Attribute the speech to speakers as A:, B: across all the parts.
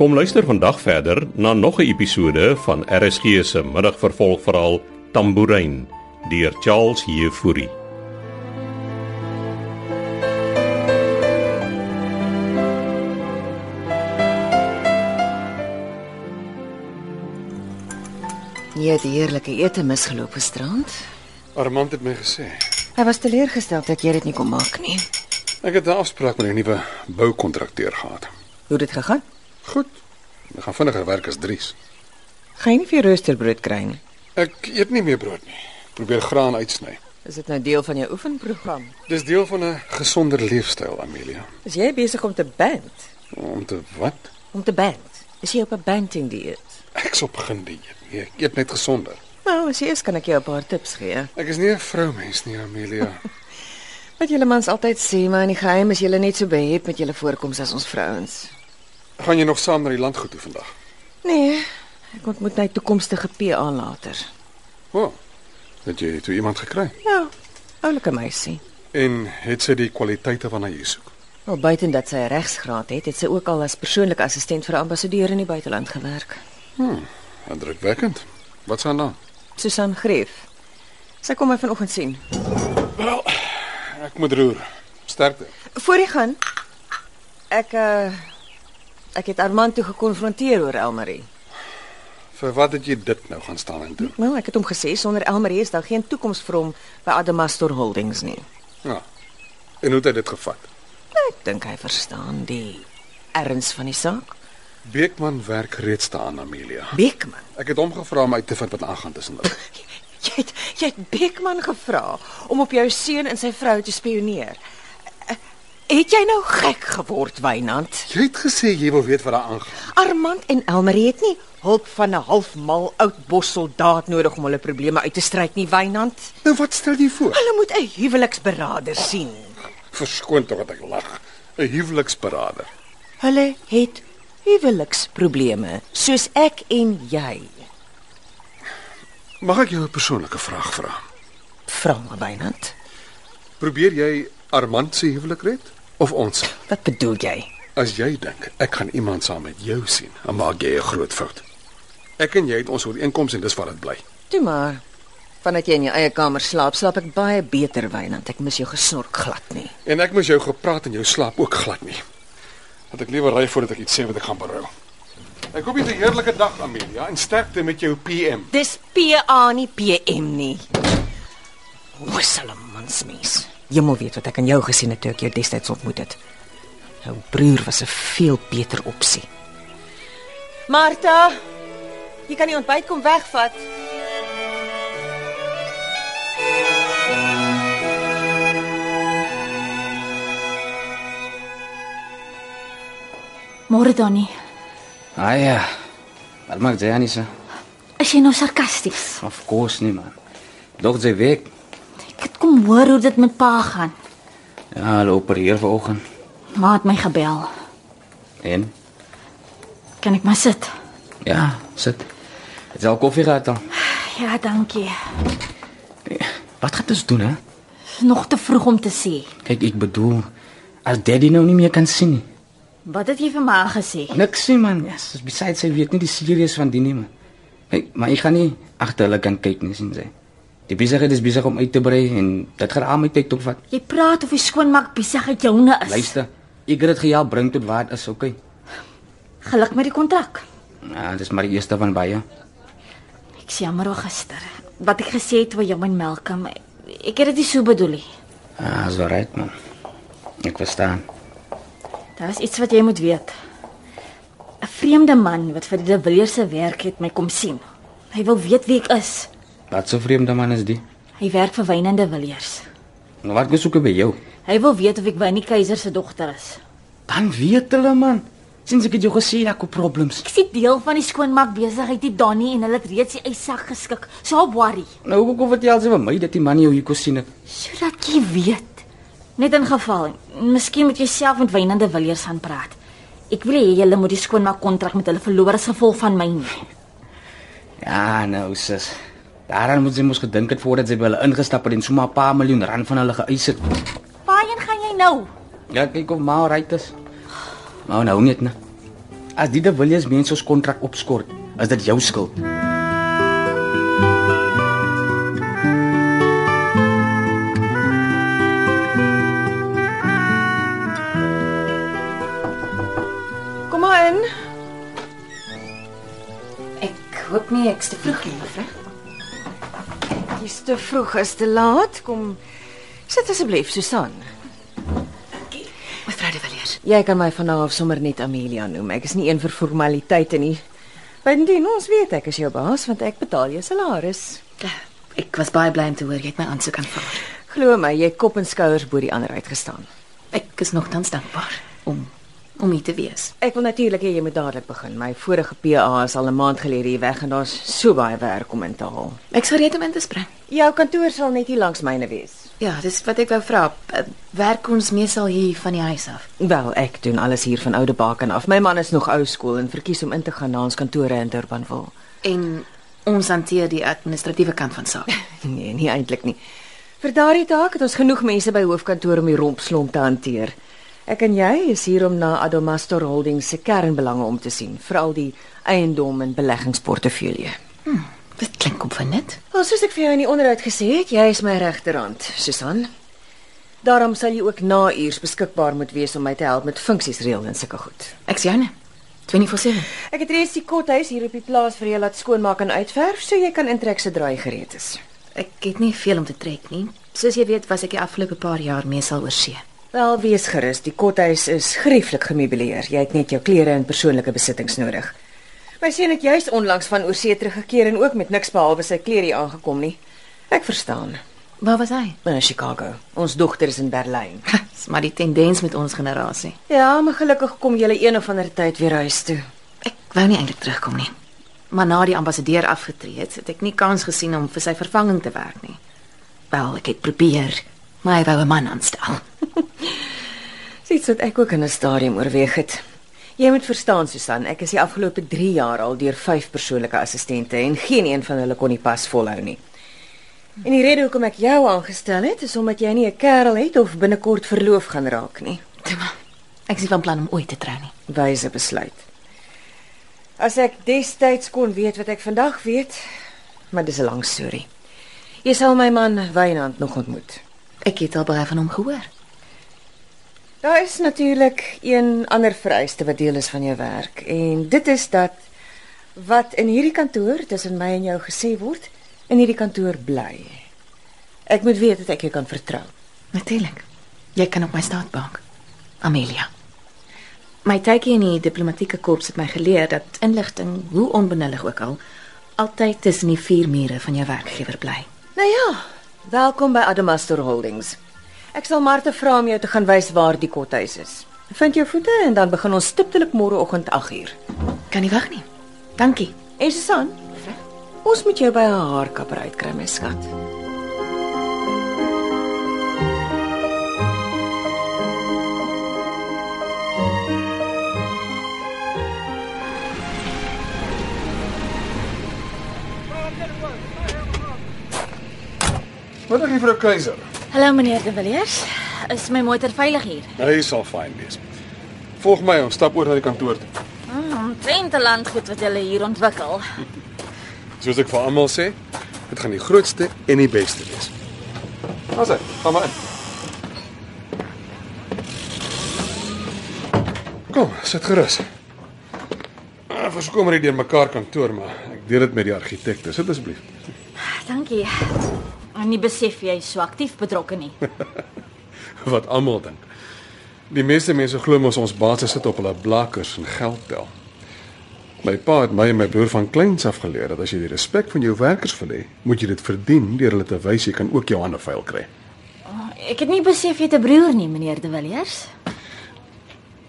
A: Kom luister vandag verder na nog 'n episode van RSG se middagvervolgverhaal Tambourine deur Charles Heffury.
B: Jy het 'n heerlike ete misgeloop gisterand.
C: Armand het my gesê.
B: Hy was teleurgestel dat jy dit nie kon maak nie.
C: Ek het 'n afspraak met 'n nuwe boukontrakteur gehad.
B: Hoe het dit gegaan?
C: Goed. Ek gaan vinniger werk as Dries.
B: Gaan jy nie vir jou roosterbrood kry nie?
C: Ek eet nie meer brood nie. Probeer graan uitsny.
B: Is dit nou deel van jou oefenprogram?
C: Dis deel van 'n gesonder leefstyl, Amelia.
B: Is jy besig om te band?
C: Om te wat?
B: Om te band. Is jy op 'n banding dieet?
C: Ek sop begin dieet. Nee, ek eet net gesonder.
B: Nou, as jy eers kan ek jou 'n paar tips gee.
C: Ek is nie 'n vroumens nie, Amelia.
B: Wat julle mans altyd sê, maar in die geheim is julle net so behep met julle voorkoms as ons vrouens.
C: gaan jy nog saam na die landgoed toe vandag?
B: Nee, ek ontmoet my toekomstige PA later.
C: O. Oh, het jy toe iemand gekry?
B: Ja, oulike meisie.
C: En het sy die kwaliteite waarna jy soek?
B: Al buiten dat sy 'n regsgraad het, het sy ook al as persoonlike assistent vir 'n ambassadeur in die buiteland gewerk.
C: Hm, Indrukwekkend. Wat s'n nou?
B: Susan Greef. Sy kom my vanoggend sien.
C: Wel, ek moet roer. Sterkte.
B: Voor jy gaan, ek uh ek het Armand toe gekonfronteer oor Elmarie.
C: Vir wat het jy dit nou gaan staan en doen?
B: Wel, ek het hom gesê sonder Elmarie is daar geen toekoms vir hom by Adamastor Holdings nie. Nou,
C: Ja. En hoe het hy dit gevat?
B: Ek dink hy verstaan die erns van die saak.
C: Beekman werk reeds daaraan, Amelia.
B: Beekman.
C: Ek het hom gevra om uit te vind wat nou aangaan tussen hulle.
B: Jy het, jy het Beekman gevra om op jou seun en sy vrou te spioneer. Het jy nou gek geword, Wynand?
C: Jy het gesê jy wil weet wat daar aangaan.
B: Armand en Elmarie het nie hulp van 'n halfmal oud bossoldaat nodig om hulle probleme uit te stryk nie, Wynand.
C: Nou wat stel jy voor?
B: Hulle moet 'n huweliksberader sien.
C: Verskoon tog dat ek lag. 'n Huweliksberader.
B: Hulle het huweliksprobleme, soos ek en jy.
C: Mag ek jou 'n persoonlike vraag vra?
B: Vra maar, Wynand.
C: Probeer jy Armand se huwelik red of ons?
B: Wat bedoel jy?
C: As jy dink ek gaan iemand saam met jou sien, dan maak jy 'n groot fout. Ek en jy het ons ooreenkoms en dis wat dit bly.
B: Toe maar. Vandat jy in jou eie kamer slaap, slaap ek baie beter, Wynand. Ek mis jou gesnork glad nie.
C: En ek moes jou gepraat en jou slaap ook glad nie. Dat ek liewer ry voordat ek iets sê wat ek gaan berou. Ek hoop jy het 'n heerlike dag Amelia en sterkte met jou PM.
B: Dis PA nie PM nie. Wisselmans mens. Jy moet weet wat ek aan jou gesien het toe ek jou destyds ontmoet het. Jou broer was 'n veel beter opsie. Martha, jy kan die ontbyt kom wegvat.
D: Môre Donnie,
E: Ah ja. Wat maak jy Anissa?
D: is jy nou sarkasties?
E: Of course nie man. Dog jy weg.
D: Ek het kom hoor hoe dit met pa gaan.
E: Ja, hulle opereer vanoggend.
D: Ma het my gebel.
E: En?
D: Kan ek maar sit?
E: Ja, sit. Het jy al koffie gehad dan?
D: Ja, dankie.
E: Wat gaan ons doen hè?
D: Is Nog te vroeg om te sê.
E: Kyk, ek bedoel as daddy nou nie meer kan sien nie.
D: Wat het jy vir ma gesê?
E: Niks sien man. Yes, is besides sy weet nie die serieus van die nie man. Kyk, maar ek gaan nie agter hulle kan kyk nie sien sy. Die besigheid is besig om uit te brei en dit gaan al my tyd opvat.
D: Jy praat of die skoonmaak besig uit joune is.
E: Luister, ek het dit gehelp bring tot waar dit is, okay?
D: Geluk met die kontrak.
E: Ja, dis maar die eerste van baie.
D: Ek sê jammer oor gister. Wat ek gesê het oor jou en Malcolm, ek het dit nie so bedoel nie.
E: Ah, is wel right man. E Ek verstaan.
D: Daar is iets wat jy moet weet. 'n Vreemde man wat vir die De Villiers se werk het my kom sien. Hy wil weet wie ek is.
E: Wat so vreemde man is die?
D: Hy werk vir Wynende Villiers.
E: Nou wat kom soek hy by jou?
D: Hy wil weet of ek Winnie Keiser se dogter is.
E: Dan weet hulle man. Sins ek het jou gesê ek het problems.
D: Ek sien deel van die skoonmaak besigheid die Donnie en hulle het reeds die eissak geskik. So hou worry.
E: Nou hoekom vertel jy vir my dat die man jou hier kom sien het?
D: Sodat jy weet. Net in geval, miskien moet jy self met Wynende Villiers gaan praat. Ek wil hê julle moet die skoonmaak kontrak met hulle verloor as gevolg van my nie.
E: Ja, nou sis. Daaraan moet jy mos gedink het voordat jy by hulle ingestap het en sommer 'n paar miljoen rand van hulle geëis het.
D: Waarheen gaan jy nou?
E: Ja, kyk of maar right is. Maar nou net, né? As die De Villiers mense ons kontrak opskort, is dit jou skuld.
B: Kom maar in.
F: Ek hoop nie ek's te vroeg nie, mevrou.
B: Jy's te vroeg, is te laat. Kom sit asseblief, Susan.
F: Mevrou De Villiers.
B: Jy kan my vanaand sommer net Amelia noem. Ek is nie een vir formaliteite nie. Bydien ons weet ek is jou baas want ek betaal jou salaris.
F: Ek was baie bly om te hoor jy het my aansoek aanvaar.
B: Glo my, jy kop en skouers bo die ander uitgestaan.
F: Ek is nogtans dankbaar om om hier te wees.
B: Ek wil natuurlik hê jy moet dadelik begin. My vorige PA is al 'n maand gelede hier weg en daar's so baie werk om in te haal.
F: Ek sal reed om in te spring.
B: Jou kantoor sal net hier langs myne wees.
F: Ja, dis wat ek wou vra. Eh, Werk ons meesal hier van die huis af?
B: Wel, ek doen alles hier van Oude Baken af. My man is nog ou skool en verkies om in te gaan na ons kantore in Durbanville.
F: En ons hanteer die administratiewe kant van sake.
B: Nee, nie eintlik nie. Vir daardie taak het ons genoeg mense by hoofkantoor om die rompslomp te hanteer. Ek en jy is hier om na Adomastor Holdings se kernbelange om te sien, veral die eiendom en beleggingsportefeulje.
F: Dit klink opwindend.
B: Wel, soos ek vir jou in die onderhoud gesê het, jy is my regterhand, Susan. Daarom sal jy ook na uurs beskikbaar moet wees om my te help met funksies reël en sulke goed.
F: Ek's joune. 24/7.
B: Ek het reeds die kothuis hier op die plaas vir jou laat skoonmaak en uitverf, so jy kan intrek sodra jy gereed is.
F: Ek het nie veel om te trek nie. Soos jy weet, was ek die afgelope paar jaar meesal oor see.
B: Wel, wees gerus, die kothuis is grieflik gemeubileer. Jy het net jou klere en persoonlike besittings nodig. My seun het juis onlangs van oorsee teruggekeer en ook met niks behalwe sy klere hier aangekom nie. Ek verstaan.
F: Waar was hy?
B: In Chicago. Ons dogter is in Berlyn.
F: Dis maar die tendens met ons generasie.
B: Ja, maar gelukkig kom julle een of ander tyd weer huis toe.
F: Ek wou nie eintlik terugkom nie. Maar na die ambassadeur afgetree het, het ek nie kans gesien om vir sy vervanging te werk nie. Wel, ek het probeer, maar hy wou 'n man aanstel.
B: Dis iets wat ek ook in 'n stadium oorweeg het. Jy moet verstaan, Susan, ek is die afgelope 3 jaar al deur 5 persoonlike assistente en geen een van hulle kon die pas volhou nie. En die rede hoekom ek jou aangestel het, is omdat jy nie 'n kerel het of binnekort verloof gaan raak nie.
F: Toe maar. Ek sien van plan om ooit te trou nie.
B: Wyse besluit. As ek destyds kon weet wat ek vandag weet, maar dis 'n lang storie. Jy sal my man Wynand nog ontmoet.
F: Ek het al baie van hom gehoor.
B: Daar is natuurlik een ander vereiste wat deel is van jou werk en dit is dat wat in hierdie kantoor tussen my en jou gesê word, in hierdie kantoor bly. Ek moet weet dat ek jou kan vertrou.
F: Natuurlik. Jy kan op my staatbank. Amelia. My tydjie in die diplomatieke korps het my geleer dat inligting, hoe onbenullig ook al, altyd tussen die vier mure van jou werkgewer bly.
B: Nou ja, welkom by Adamastor Holdings. Ek sal Martha vra om jou te gaan wys waar die kothuis is. Vind jou voete en dan begin ons stiptelik môreoggend 8uur.
F: Kan nie wag nie. Dankie.
B: En Susan, ons moet jou by haar haarkapper uitkry, my skat.
C: Wat dink jy vir 'n keiser?
F: Hallo meneer De Villiers. Is my motor veilig hier?
C: Hy sal fyn wees. Volg my, ons stap oor na die kantoor toe.
F: Omtrent te land goed wat hulle hier ontwikkel.
C: Soos ek vir almal sê, dit gaan die grootste en die beste wees. Ons sê, kom maar in. Kom, sit gerus. Ah, Verskoon maar die deur mekaar kantoor, maar ek deel dit met die argitekte. Sit asseblief.
F: Ah, Dankie. En nie besef jy is so aktief betrokke nie.
C: Wat almal dink. Die meeste mense glo mos ons baas sit op hulle blakkers en geld tel. My pa het my en my broer van kleins af geleer dat as jy die respek van jou werkers wil hê, moet jy dit verdien deur hulle te wys jy kan ook jou hande vuil kry.
F: Ek het nie besef jy het 'n broer nie, meneer De Villiers.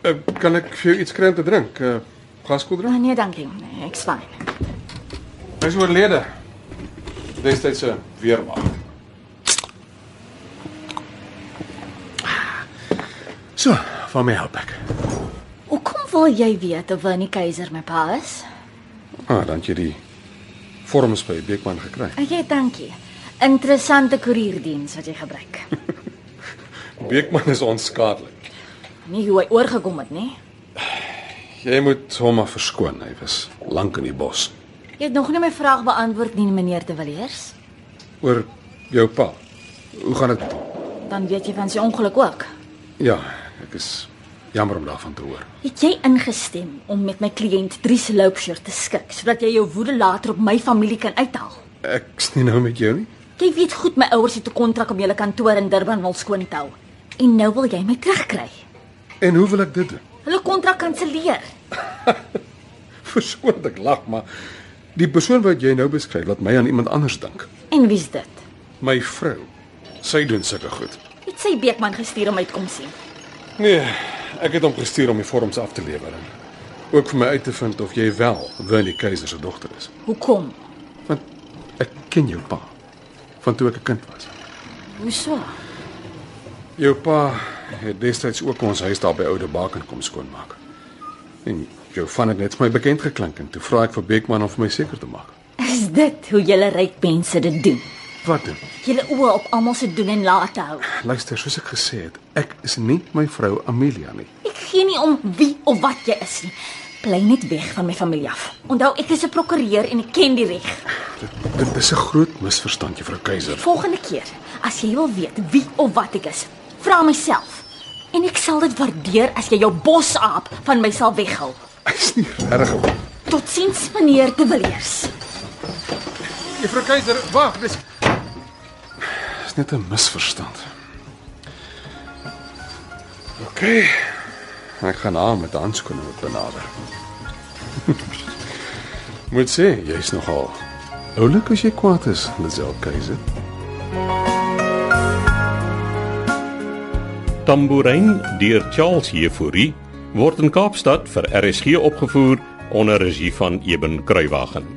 C: Uh, kan ek vir jou iets kry om te drink? Uh, Gaskoeldrank?
D: Ah,
F: Oh, nee, dankie. Nee, Ek's fyn.
C: Hy is oorlede. Destyds se weermag. So, van my help ek.
F: Hoekom wil jy weet of Winnie Keiser my pa is?
C: Ah, dan het jy die vorms by Beekman gekry.
D: Ah,
F: Ag, jy dankie. Interessante koerierdiens wat jy gebruik.
C: Beekman is onskadelik.
F: Nie hoe hy oorgekom het nie.
C: Jy moet hom maar verskoon, hy was lank in die bos.
D: Jy het nog nie my vraag beantwoord nie, meneer De Villiers.
C: Oor jou pa. Hoe gaan dit met hom?
D: Dan weet jy van sy ongeluk ook.
C: Ja, ek is jammer om daarvan te hoor.
D: Het jy ingestem om met my kliënt Dries Loupsher te skik sodat jy jou woede later op my familie kan uithaal?
C: Ek's nie nou met jou nie.
D: Jy weet goed my ouers het 'n kontrak om julle kantoor in Durban wil skoon te hou. En nou wil jy my terugkry.
C: En hoe wil ek dit doen?
D: Hulle kontrak kanselleer.
C: Verskoon dat ek lag, maar die persoon wat jy nou beskryf laat my aan iemand anders dink.
D: En wie's dit?
C: My vrou. Sy doen sulke goed.
D: Het sy Beekman gestuur om my te kom sien.
C: Nee, ek het hom gestuur om die vorms af te lewer en ook vir my uit te vind of jy wel Winnie Keiser se dogter is.
D: Hoekom?
C: Want ek ken jou pa van toe ek 'n kind was.
D: Hoe so?
C: Jou pa het destyds ook ons huis daar by Oude Baken kom skoonmaak. En jou van het net vir my bekend geklink en toe vra ek vir Beekman om vir my seker te maak.
D: Is dit hoe julle ryk mense dit doen?
C: Wat doen?
D: Julle oë op almal se doen en laat hou.
C: Luister, soos ek gesê het, ek is nie my vrou Amelia nie.
D: Ek gee nie om wie of wat jy is nie. Bly net weg van my familie af. Onthou ek is 'n prokureur en ek ken die reg.
C: Dit, dit is 'n groot misverstand, juffrou Keiser.
D: Volgende keer, as jy wil weet wie of wat ek is, vra myself. En ek sal dit waardeer as jy jou bosaap van my sal weghou.
C: Ek's nie regtig.
D: Totsiens meneer De Villiers.
C: Juffrou Keiser, wag, dis Dis net 'n misverstand. OK. Ek gaan haar met handskoene moet benader. moet sê, jy's nogal oulik as jy kwaad is, Lisel Keiser.
A: Tambourin deur Charles Heffouri word in Kaapstad vir RSG opgevoer onder regie van Eben Kruiwagen.